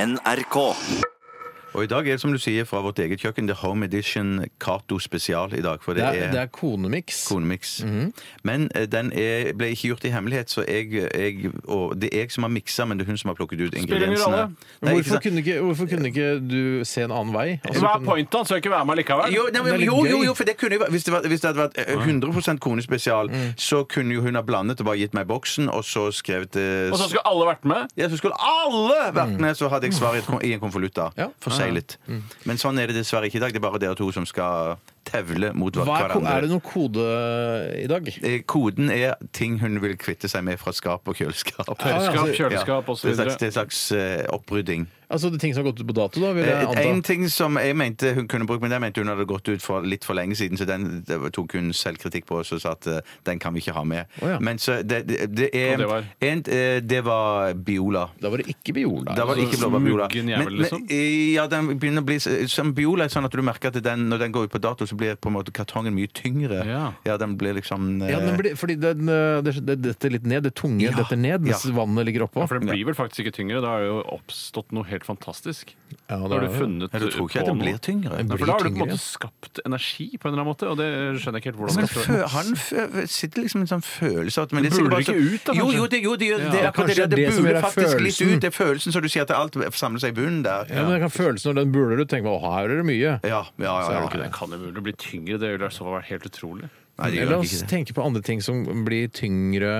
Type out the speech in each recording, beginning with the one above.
NRK. Og i dag er det som du sier fra vårt eget kjøkken, det er Home Edition Cato spesial i dag. For det, Det er, det er, er konemiks. konemix. Mhm. Men eh, den er, ble ikke gjort i hemmelighet, så jeg, jeg, og det er jeg som har miksa, men det er hun som har plukket ut ingrediensene. rolle. Nei, ikke Hvorfor sant? kunne, ikke, hvorfor kunne ikke du se en annen vei? Altså, kunne- Hva er pointet? Han skal ikke være med likevel. Jo, nei, Det er men, litt jo, jo, gøy. jo, for det kunne jo vært- hvis, det var, hvis det hadde vært eh, 100 konespesial, Mm. så kunne jo hun ha blandet og bare gitt meg boksen, og så skrevet det Og så skulle alle vært med. ja, så skulle alle vært med, så hadde jeg svaret i et kon- i en konvolutt. da. Mm. Ja. Mm. Forseglet. Men sånn er det dessverre ikke i dag. Det er bare dere to som skal tevle mot hver- Hva er, ko- er det hverandre. noen kode i dag? Eh, Koden er ting hun vil kvitte seg med fra skap og kjøleskap. Kjøleskap, altså, kjøleskap det er en slags, osv. det er en slags eh, opprydding. Altså de ting som har gått ut på dato, da? Vil jeg Eh, En anta. ting som jeg mente hun kunne brukt, men den mente hun hadde gått ut for litt for lenge siden, så den det tok hun selvkritikk på og så sa at eh, den kan vi ikke ha med. Å, ja. Men så det, det, det er Og det var? en, eh, Det var Biola. Da var det ikke Biol, da. Da var det ikke altså, blåbærbiola. muggen jævel, liksom? eh, ja, den begynner å bli s- som biola, er sånn at du merker at den, når den går ut på dato, så blir på en måte kartongen mye tyngre. Ja. den blir liksom eh, Ja, men blir- fordi den, eh, det, det detter litt ned. Det tunge Ja. detter ned, mens Ja. vannet ligger oppå. Ja, for det blir vel faktisk ikke tyngre. Da har det jo oppstått noe helt fantastisk. Ja, det Da har er du det. Jeg funnet tror ikke på at den noe. blir tyngre. Den Nei, blir for da har du på en tyngre. måte skapt energi på en eller annen måte, og det skjønner jeg ikke helt hvordan Men det skal fø- han fø- sitter liksom en sånn følelse av at men det er Buler sikkert det bare ikke ut, da, så- Jo, kanskje? jo, det, jo, det, gjør- Ja. det, er akkurat det, Kanskje det, det som buler gjør det faktisk litt følelsen. ut. Det er følelsen som du sier at alt samler seg i bunnen der. Ja, men jeg kan føle som når den buler ut, tenker man «Å, her er det mye. Ja, ja, Så er ja. det ikke ja. Det kan jo mulig bli tyngre, det ville i så fall vært helt utrolig. Nei, det La gjør oss ikke det. tenke på andre ting som blir tyngre.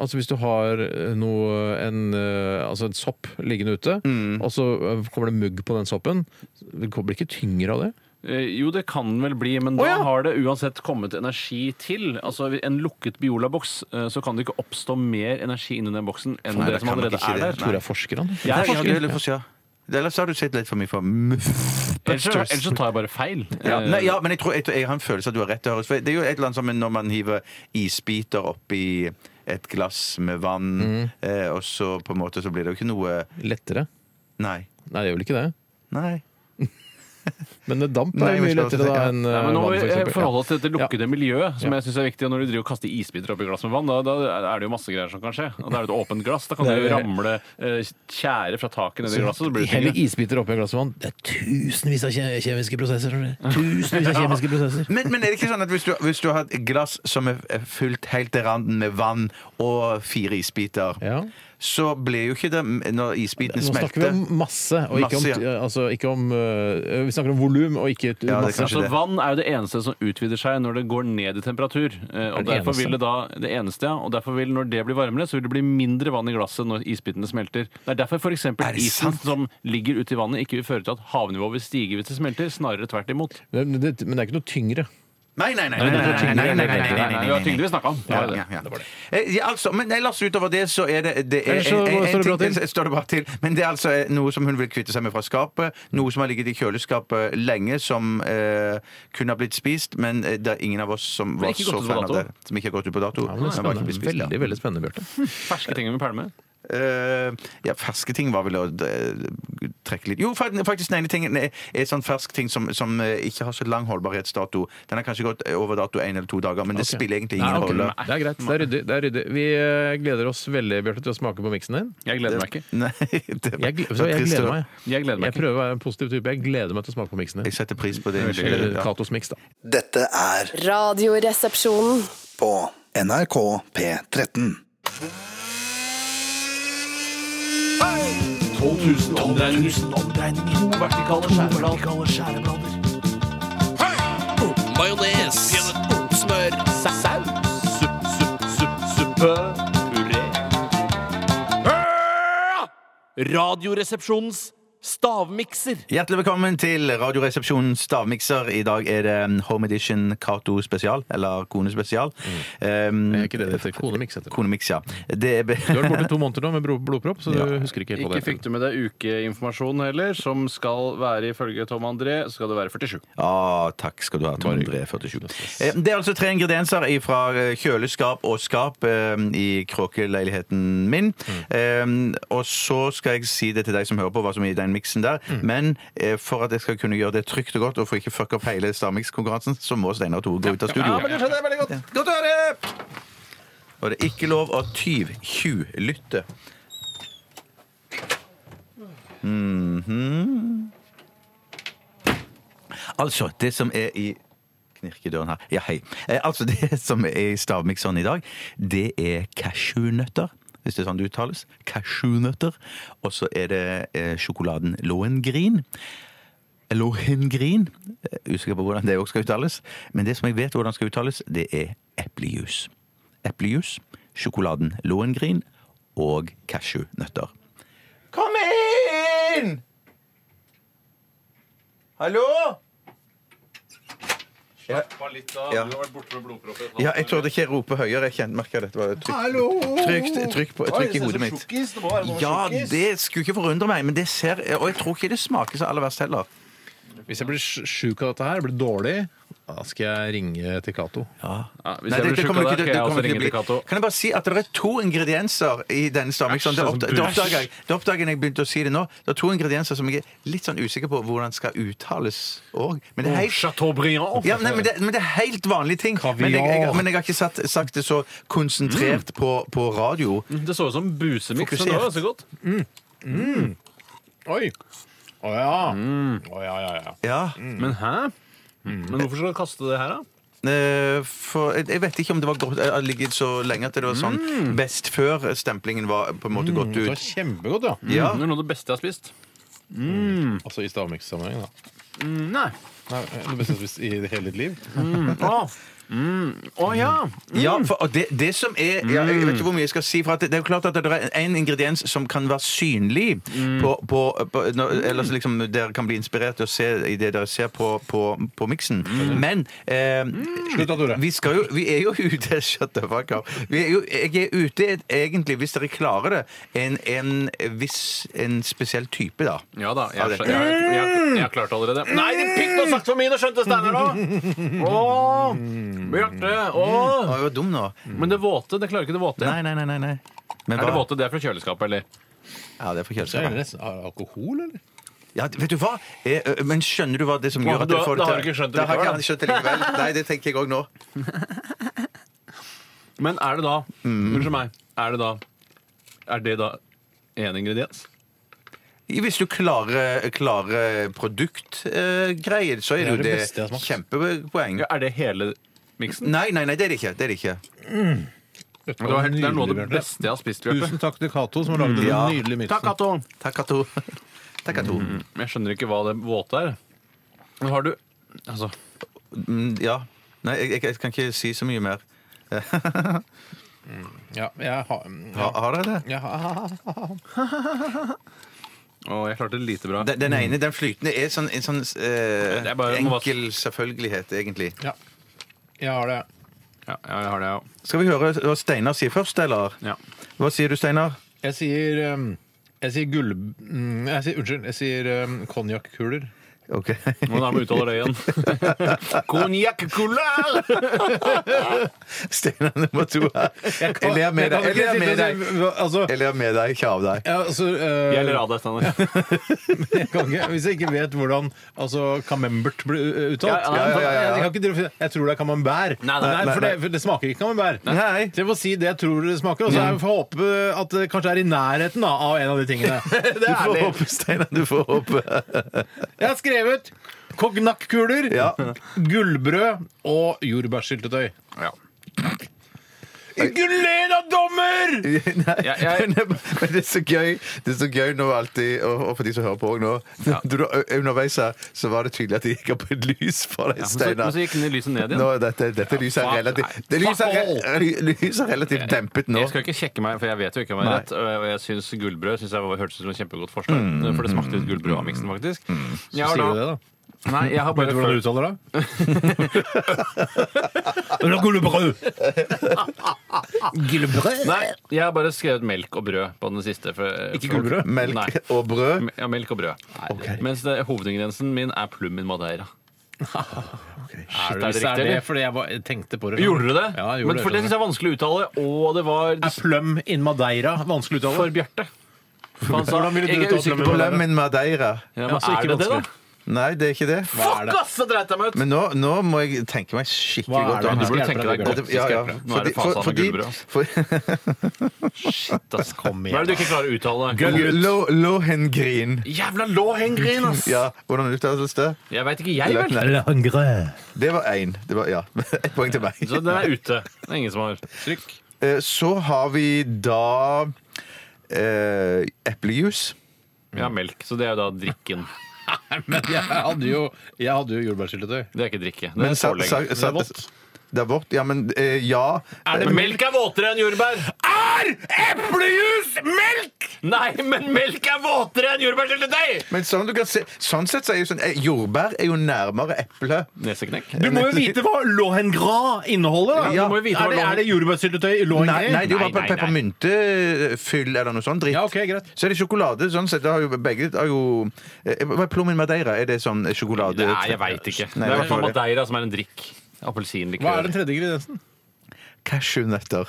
Altså Hvis du har eh, noe, en, eh, altså en sopp liggende ute, og så eh, kommer det mugg på den soppen, det blir ikke tyngre av det? Eh, Jo, det kan vel bli, men Å, da ja. har det uansett kommet energi til. Altså, En lukket Biola-boks, eh, så kan det ikke oppstå mer energi inni den boksen enn Nei, det det som kan nok allerede ikke er det. der. Tror jeg er forskerne. Nei, Jeg er ja, det forsker. er litt for siden. Ellers har du sett litt for mye for Ellers så- ellers så tar jeg bare feil. ja, Eh, nei, ja, men jeg tror jeg, tror- jeg har en følelse at du har rett. Høres. For det er jo et eller annet som når man hiver isbiter oppi et glass med vann, Mm. eh, og så på en måte så blir det jo ikke noe Lettere? Nei. Nei, det gjør vel ikke det. Nei. Men eh, damp Nei, er men jo mye skal vi lettere da se- enn eh, Nei, men nå må vann, for vi eksempel. forholde oss til dette lukkede miljøet, som Ja. jeg synes er viktig. Og når du driver og kaster isbiter oppi glass med vann, da, da er det jo masse greier som kan skje. Og da er det et åpent glass. Da kan Det det er- jo ramle eh, tjære fra taket ned i glasset. Så blir det Heller tyngre. isbiter oppi et glass vann. Det er tusenvis av kje- kjemiske prosesser. tror jeg. Tusenvis av kjemiske prosesser. Men, men er det ikke sånn at hvis du, hvis du har et glass som er er fylt helt til randen med vann og fire isbiter, Ja. så blir jo ikke det når isbitene Nå smelter snakker vi om masse, og ikke Masse, om, ja. altså, ikke om øh, Vi snakker om volum og ikke er masse. kanskje Altså, det. vann er jo det eneste som utvider seg når det går ned i temperatur. Eh, og det derfor eneste? vil det da, det eneste, ja, og derfor vil når det blir varmere, så vil det bli mindre vann i glasset når isbitene smelter. Det er derfor f.eks. Er det isen sant? som ligger ute i vannet, ikke vil føre til at havnivået vil stige hvis det smelter. Snarere tvert imot. Men det, men det er ikke noe tyngre. Nei, nei, nei. nei, nei, nei, nei, nei, nei, nei, nei, nei, Det var tyngde vi snakka om. Det Ja, var det. ja, ja. Eh, ja, altså, men ellers utover det så er det, det er, Ellers en- så en- en står det bra ting- til. står det bra til. Men det er altså eh, noe som hun vil kvitte seg med fra skapet. Noe som har ligget i kjøleskapet lenge, som eh, kunne ha blitt spist, men eh, det er ingen av oss som var ikke så gått ut på fan av dato. det. Som ikke har gått ut på dato. Ja, men det er men var ikke blitt spennende. spist, ja. Veldig veldig spennende, Bjarte. Ferske ting vi pælmer. Eh, ja, ferske ting var vel å eh, trekke litt Jo, fa- faktisk den ene tingen er, er sånn fersk ting som, som eh, ikke har så lang holdbarhetsdato. Den har kanskje gått eh, over dato én eller to dager, men det Ok. spiller egentlig Nei, ingen ok, rolle. men- Det er greit. Det er ryddig. Det er ryddig. Vi øh, gleder oss veldig Bjarte, til å smake på miksen din. Jeg gleder meg ikke. Nei, det var- Jeg, gle- det så var jeg trist å gleder høre. meg. Jeg gleder meg Jeg ikke. prøver å være en positiv type. Jeg gleder meg til å smake på miksen Jeg din. setter pris på det. Eller Ja. Katos miks, da. Dette er Radioresepsjonen. på NRK P13. 12 000 omdreininger. To vertikale skjæreblader. Majones. Smør. Saus. Supp, supp, supp, suppe. Puré. Radioresepsjonens stavmikser. Hjertelig velkommen til Radioresepsjonens stavmikser. I dag er det um, Home Edition Cato spesial, eller Kone spesial. Um, Er ikke det det heter? Konemiks heter det. Konemix, ja. Det er be Du har vært borte to måneder nå med bro- blodpropp, så du Ja. husker ikke helt på det. Ikke fikk du med deg ukeinformasjon heller, som skal være ifølge Tom André, så skal det være 47. ah, takk skal du ha, Tom Bare André 47. Eh, Det er altså tre ingredienser fra kjøleskap og skap eh, i kråkeleiligheten min. Eh, Og så skal jeg si det til deg som hører på, hva som er i den miksen der. Men eh, for at jeg skal kunne gjøre det trygt og godt, og for ikke fucke opp hele stavmikskonkurransen, så må Steinar Tore gå ut av studio. skjønner jeg veldig godt. Godt å høre! Og det er ikke lov å tyv-tjuvlytte. Altså, det som er i Knirkedøren her. Ja, hei. Eh, altså, det som er i stavmikseren i dag, det er cashewnøtter. Hvis det er sånn det uttales. Cashewnøtter. Og så er det eh, sjokoladen Lohengrin. Lohengrin. Eh, Usikker på hvordan det også skal uttales. Men det som jeg vet hvordan skal uttales, det er eplejus. Eplejus, sjokoladen Lohengrin og cashewnøtter. Kom inn! Hallo? Bare litt av, Ja. Du har vært borte med blodproppen. Ja, jeg trodde ikke jeg roper høyere. Jeg kjente, merket dette var trykk, Hallo! trykk, trykk, på, trykk i hodet mitt. Sjokkis, det må være noe Ja, sjokkis. det skulle ikke forundre meg, men det ser Og jeg tror ikke det smaker så aller verst heller. Hvis jeg blir sj- sjuk av dette her, blir dårlig, da skal jeg ringe til Cato. Ja, hvis Nei, jeg det- blir det sjuk kommer av ikke deg, til- det kommer ikke skal jeg også til å ringe bli- til Cato. Kan jeg bare si at det er to ingredienser i denne stavmikseren? Det Æsj, oppda- altså, det bæsj. oppdaga jeg det oppdaget jeg da jeg begynte å si det nå. Det er to ingredienser som jeg er litt sånn usikker på hvordan skal uttales òg. Men det er helt Chateaubriand. Ja, nei, men, det, men det er helt vanlige ting. Men jeg, jeg, men jeg har ikke sagt, sagt det så Mm. konsentrert på, på radio. Det så ut som busemiks. men Det var ganske godt. Oi! Å ja. Å ja, ja, ja. Ja, Men hæ? Mm. Men hvorfor skal du kaste det her, da? eh, for jeg, jeg vet ikke om det var godt Jeg har ligget så lenge at det var sånn best før-stemplingen var på en måte gått Det ut. var kjempegodt, ja. Ja. Det er noe av det beste jeg har spist. Altså i stavmikssammenheng, da. Nei. Nei, det beste jeg har spist i hele ditt liv. Å ja! Ja, for, og det, det som er ja, Jeg vet ikke hvor mye jeg skal si. For at det, det er jo klart at det er en ingrediens som kan være synlig på, på, på når, Eller så liksom dere kan bli inspirert til å se i det dere ser på, på, på miksen. Men eh, Slutt da, Tore. Vi, skal jo, vi er jo ute Shut the fuck up. Vi er jo, jeg er ute i et- egentlig, hvis dere klarer det, en, en viss En spesiell type, da. Ja da, jeg, Ja, det- jeg, jeg, jeg, jeg har klart det allerede. Nei, din pikk var sagt for min, og skjønte Steinar nå! Åh, Bjarte! Å, Åh. jeg var dum nå. Men det våte, det klarer ikke det våte. Nei, nei, nei. nei, nei. Men Er det hva- våte, det er fra kjøleskapet, eller? Ja, det er for Det er kjøleskapet. nesten er det alkohol, eller? Ja, vet du hva? Eh, eh, Men skjønner du hva det som gjør at Da- jeg får det da har du ikke skjønt det Da har jeg likevel, ikke skjønt det likevel. Nei, det tenker jeg òg nå. Men er det da Unnskyld meg. Er det da Er det da én ingrediens? Hvis du klarer, eh, klarer produktgreier, så er det jo Det er det beste det jeg har smakt. kjempepoeng. Ja, er det hele miksen? Nei, nei, nei, det er det ikke. Det er det ikke. Det, var, det er noe av det beste jeg har spist. Bjarte. Tusen takk til Cato, som har laget Ja. den nydelige miksen. Takk, Atto. Takk, Kato. Takk, Kato. Men Jeg skjønner ikke hva det våte er. Men Har du Altså, Mm, Ja. Nei, jeg, jeg, jeg kan ikke si så mye mer. Ja, jeg har ja. Har, har dere det? Jeg har- å, jeg klarte det lite bra. Den, den ene, den flytende, er sånn, en sånn eh, Det er bare- enkel selvfølgelighet, egentlig. ja. Jeg har det. Ja, ja, jeg har det, ja. Skal vi høre hva Steinar sier først, eller? Ja. Hva sier du, Steinar? Jeg sier um, Jeg sier gull... mm, Jeg sier, unnskyld. Jeg sier um, konjakkuler. Ok. Hvordan er det man uttaler det igjen? Konjakkuler! Steinar nummer to her. Jeg ler med deg. Jeg ler med deg. Altså, Jeg ler med deg, ikke av deg. ja, altså eh, Jeg ler av deg, Steinar. jeg kan ikke, Hvis jeg ikke vet hvordan altså, camembert blir eh, uttalt Ja, ja, ja, ja, ja. Jeg, kan ikke, drive- jeg tror det er camembert. Nei, nei, nei, for, det, for det smaker ikke camembert. Nei. Så jeg må si det jeg tror det smaker, og så Mm. jeg får håpe at det kanskje er i nærheten da, av en av de tingene. Du får håpe, Steinar. Du får håpe. Jeg har skrevet kognakkuler, Ja. gullbrød og jordbærsyltetøy. Ja. Ikke le da, dommer! Jeg, jeg, Men det er så gøy Det er så gøy nå alltid, og, og for de som hører på òg nå Ja. Du, da, Underveis her så var det tydelig at det gikk opp et lys for deg, men, så, men Steinar. så gikk den i lyset ned Nå, igjen. dette, dette lyset er fuck, relativt nei. Det lyset er, Fuck re- ly- lyset er relativt dempet nå. Jeg skal ikke sjekke meg, for jeg vet jo ikke om jeg Nei. har rett. Og jeg syns gullbrød synes jeg var, hørtes ut som et kjempegodt forslag. For det smakte litt gullbrød av miksen, faktisk. Jeg har Sier du da- det, da? Nei, jeg har Vet bare du hvordan du følt uttaler det? Gullbrød! Gullbrød? Nei, jeg har bare skrevet melk og brød på den siste. For, Ikke gullbrød? Melk Nei. og brød. Ja, melk og brød. Mens det, hovedingrediensen min er plummen madeira. Er det, Er det riktig, er det eller? fordi jeg var, tenkte på det? Gjorde du det? Ja, jeg gjorde Men for det syns jeg er vanskjelig å uttale. Og det var Er plum in madeira vanskelig å uttale? for Bjarte. For Han sa, Hvordan ville du jeg er uttalt usikker plummen på madeira? Blømmen madeira. ja, Ja, men så ikke Er det det, da? Nei, det er ikke det. Hva er Fuck, det? ass! Så dreit jeg meg ut! Men nå, nå må jeg tenke meg skikkelig Hva er godt det? om. Du burde tenke deg godt, Dette- Ja, ja. så skal jeg prøve. Nå er det faen sånn med gullbrød, ass. for, Shit, ass. Kom igjen, Hva er det du ikke klarer å uttale? Low- Lohengrin. Jævla låhengrin, ass! Ja, hvordan uttales det? Jeg veit ikke, jeg, vel. Det var én. Det var, ja. Ett poeng til meg. Så den er ute. Det er ingen som har trykk. Eh, Så har vi da eh, eplejus. Jeg har melk, så det er jo da drikken. Men jeg hadde jo, jeg hadde jo jordbærsyltetøy. Det er ikke drikke. Det Men er sa- pålegg. sa- sa- Det er vått. Det er vått, ja, men eh, ja. Er det melk er våtere enn jordbær? Er eplejus melk?! Nei, men melk er våtere enn jordbærsyltetøy! Men sånn, du kan se, sånn sett så er jo sånn eh, Jordbær er jo nærmere eple. Neseknekk. Du må jo vite hva Lohengras inneholder! da. Ja, du må jo vite hva er det, Lohen- er det jordbærsyltetøy i Lohengrin? Nei, nei, det er jo Nei, bare nei, nei. peppermyntefyll eller noe sånt dritt. Ja, ok, greit. Så er det sjokolade. sånn sett, det har jo Begge har jo eh, Hva er Plommen Madeira? Er det sånn sjokolade? Nei, jeg veit ikke. Det Nei, er i jeg hvert fall tror det. Madeira som er en drikk. Hva er Appelsinlikør. den tredje ingrediensen? Cashewnøtter.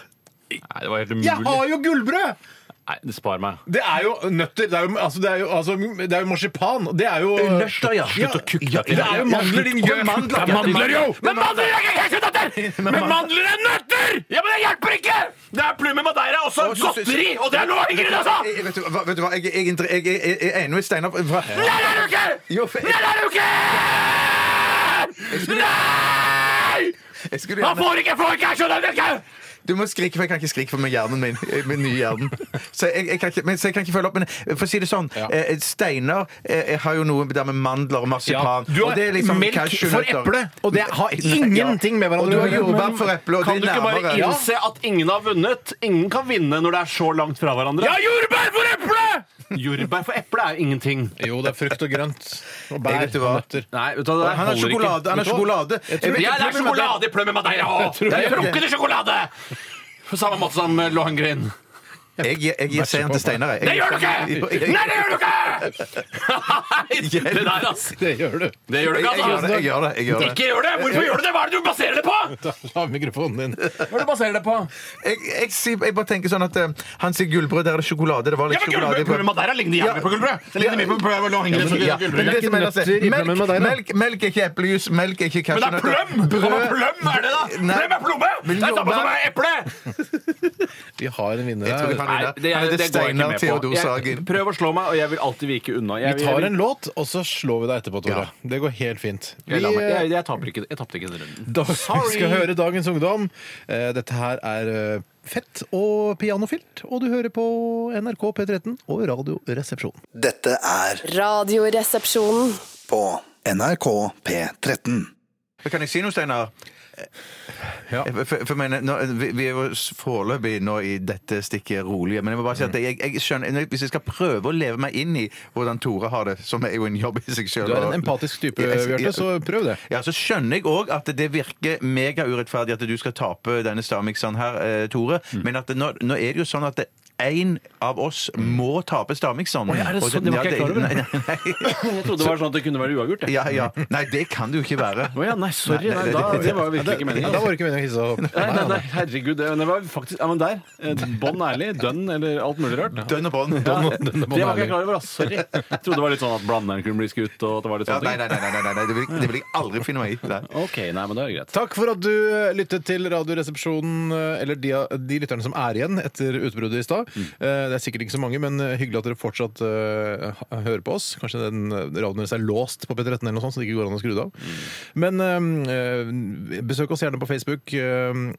Nei, det var helt Jeg umulig. har jo gullbrød! Nei, det spar meg. Det er jo nøtter. Det er jo, altså, det er jo, altså, det er jo marsipan. Det er jo Nøtter, ja. Ja, ja, det er jo mandler, din gjøk! Mandler, Det er mandler, jo! Men mandler er ikke cashewnøtter! Men mandler er nøtter! Ja, men det hjelper ikke! Det er plummen Madeira også Og så- godteri! Og det er noe altså! av ingrediensene! Jeg- jeg- Eh, Vet du hva, vet du hva? jeg, jeg, jeg, jeg, jeg, jeg er enig med Steinar. Hva- Nei, det er du ikke! Jo, for- Nei, det er du ikke! Nei! Jeg skulle Han gjerne, får ikke få cashewnøtter! du må skrike, for jeg kan ikke skrike for med hjernen min. eh, Med nye hjernen. Så jeg, jeg, kan ikke, men, så jeg kan ikke følge opp. Men for å si det sånn, Ja. eh, Steinar eh, har jo noe der med mandler og marsipan. Du har og det er liksom melk for cashewnøtter. eple, og det har Ja. ingenting Og med hverandre du har å gjøre. jordbær for eple, og det Kan er du ikke bare nærmere. Ja. innse at ingen har vunnet? Ingen kan vinne når det er så langt fra hverandre. Ja, jordbær for eple! Jordbær for eple er jo ingenting. Jo, det er frukt og grønt. Og Jeg bær vet du og hva. nøtter. Nei, vet du, hva, det Han har holder ikke. sjokolade. Han har sjokolade. Jeg vet Ja, ikke- det er sjokolade i plømmen med deg òg! Det er flukkende sjokolade! På samme måte som eh, Lohengrin. Jeg, jeg, jeg gir seieren til Steinar. jeg. Det gjør du ikke! Jo, jeg- Nei, det gjør du ikke! Nei, det der, ass. Det gjør du. Det Jeg, gjør du ikke, jeg, gjør altså. det, jeg gjør det. Jeg, gjør det. Ikke gjør det! Hvorfor gjør du det? Hva er det du baserer det på? Ta av mikrofonen din. Hva er det du baserer det på? Jeg, jeg, sier- jeg bare tenker sånn at eh, han sier gullbrød, der er det sjokolade. Det var litt Ja, men sjokolade i gullbrød, brød. Plømmen Madeira ligner jævlig på gullbrød. Det ligner mye på plømmen Lohengrin som Ja, ligner men på gullbrød. det ikke som er nøtter altså- i melk, plommen med deg, da. melk, melk er ikke eplejus, melk er ikke Men cashewnøtter. det er pløm! Hva med pløm er det, da? Nei. Pløm er plomme! Men Det er samme som jordbær- er eple! Vi har en vinner Jeg tror vi her. kan vinne. er- Men det er går jeg ikke Steinar med på. Theodor Jeg- Sagen. Prøv å slå meg, og jeg vil alltid vike unna. Jeg, Vi tar en låt, og så slår vi deg etterpå, Tore. Det går helt fint. Vi, jeg, lar meg- eh, jeg, jeg taper ikke, jeg tapte ikke den runden. da, vi skal høre Dagens Ungdom. Eh, Dette her er eh, fett og pianofilt, og du hører på NRK P13 og Radioresepsjonen. Dette er Radioresepsjonen. på NRK P13. Kan jeg si noe, Steinar? Eh, Ja. For, for, for jeg mener, nå, vi, vi er jo s- foreløpig nå i dette stikket rolige, men jeg må bare si at jeg, jeg skjønner Hvis jeg skal prøve å leve meg inn i hvordan Tore har det, som er jo en jobb i seg sjøl Du er en empatisk type, Bjarte, så prøv det. Ja, så skjønner jeg òg at det virker megaurettferdig at du skal tape denne stavmikseren her, eh, Tore. Mm. Men at det, nå, nå er det jo sånn at det en av oss må tape stavmikseren. ja, er det Og sånn? Det var ja, ikke jeg klar over. Nei, nei, nei. Jeg trodde det var sånn at det kunne være uavgjort. jeg. Ja, ja. nei, det kan det jo ikke være. Å ja, nei, sorry. Nei, Nei, det- da, det- det var jo virkelig ikke Da meningen. var det ikke meningen å hisse deg opp. Nei, nei, nei, herregud. Det, det var faktisk Ja, men der. eh, Bånn ærlig. Dønn eller alt mulig rart. Dønn og bånd. Ja, Dønn og- det var ikke jeg klar over. ass. Sorry. Jeg trodde det var litt sånn at blanderen kunne bli skutt. og at det var litt Ja, sånne nei, ting. nei, nei, nei, nei, nei, det vil, det vil jeg aldri finne meg i. Nei. OK, nei, men da er det greit. Takk for at du eh, lyttet til Radioresepsjonen, eh, eller de, de lytterne som er igjen etter utbruddet i stad. Mm. Eh, Det er sikkert ikke så mange, men hyggelig at dere fortsatt eh, ha- hører på oss. Kanskje den eh, radioen deres er låst på P13 eller noe sånt, så det ikke går an å skru det av. Mm. Men eh, eh, besøk oss gjerne på Facebook. eh,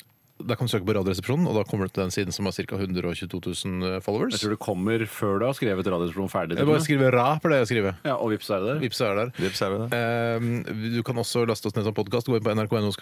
Der kan du søke på Radioresepsjonen, og da kommer du til den siden som har ca. 122 000 Jeg eh, followers. tror det kommer før du har skrevet Radiosprom ferdig. Jeg bare skriver 'ra' for det jeg skriver. Ja, og vips er det der. Vips er der. Ehm, Du kan også laste oss ned som podkast. Gå inn på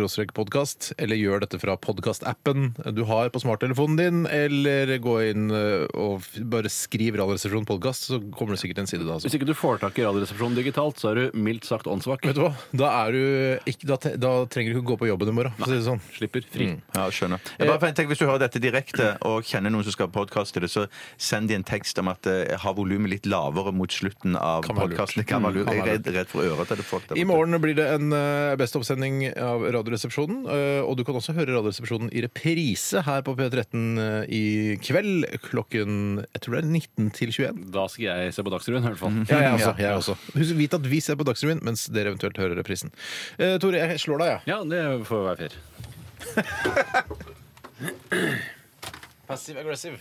nrk.no-podkast, eller gjør dette fra podkastappen du har på smarttelefonen din, eller gå inn eh, og f- bare skriv Radioresepsjonen podkast, så kommer det sikkert en side da. Altså. Hvis ikke du får tak i Radioresepsjonen digitalt, så er du mildt sagt åndssvak. Vet du hva? Da, er du ikke, da, te- da trenger du ikke gå på jobben i morgen, for å si det sånn. Slipper fri. Ja, skjønner skjønner. Jeg bare tenker, Hvis du hører dette direkte og kjenner noen som skal podkaste det, så send de en tekst om at eh, jeg har volumet litt lavere mot slutten av Kan være lurt. podkasten. Jeg er Kan være lurt. redd, redd for øret til det folk der I borte. morgen blir det en eh, best oppsending av Radioresepsjonen. eh, Og du kan også høre Radioresepsjonen i reprise her på P13 eh, i kveld klokken jeg tror det er 19 til 21. Da skal jeg se på Dagsrevyen, i hvert fall. Mm. Ja, jeg også. Jeg også. Husk, vit at vi ser på Dagsrevyen mens dere eventuelt hører reprisen. Eh, Tore, jeg slår deg, jeg. Ja, det får være fair. Passive aggressive.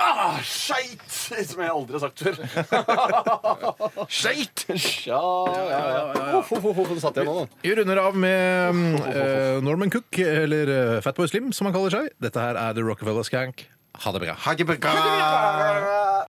Ah, Skeit! Som jeg aldri har sagt før. Skeit! Ja, ja, ja. Hoff, hoff, hoff, den satt jeg nå, da. Vi runder av med mm, eh, Norman Cook, eller eh, Fatboy Slim, som han kaller seg. Dette her er The Rockefeller Skank. Ha det bra. Hagebekka!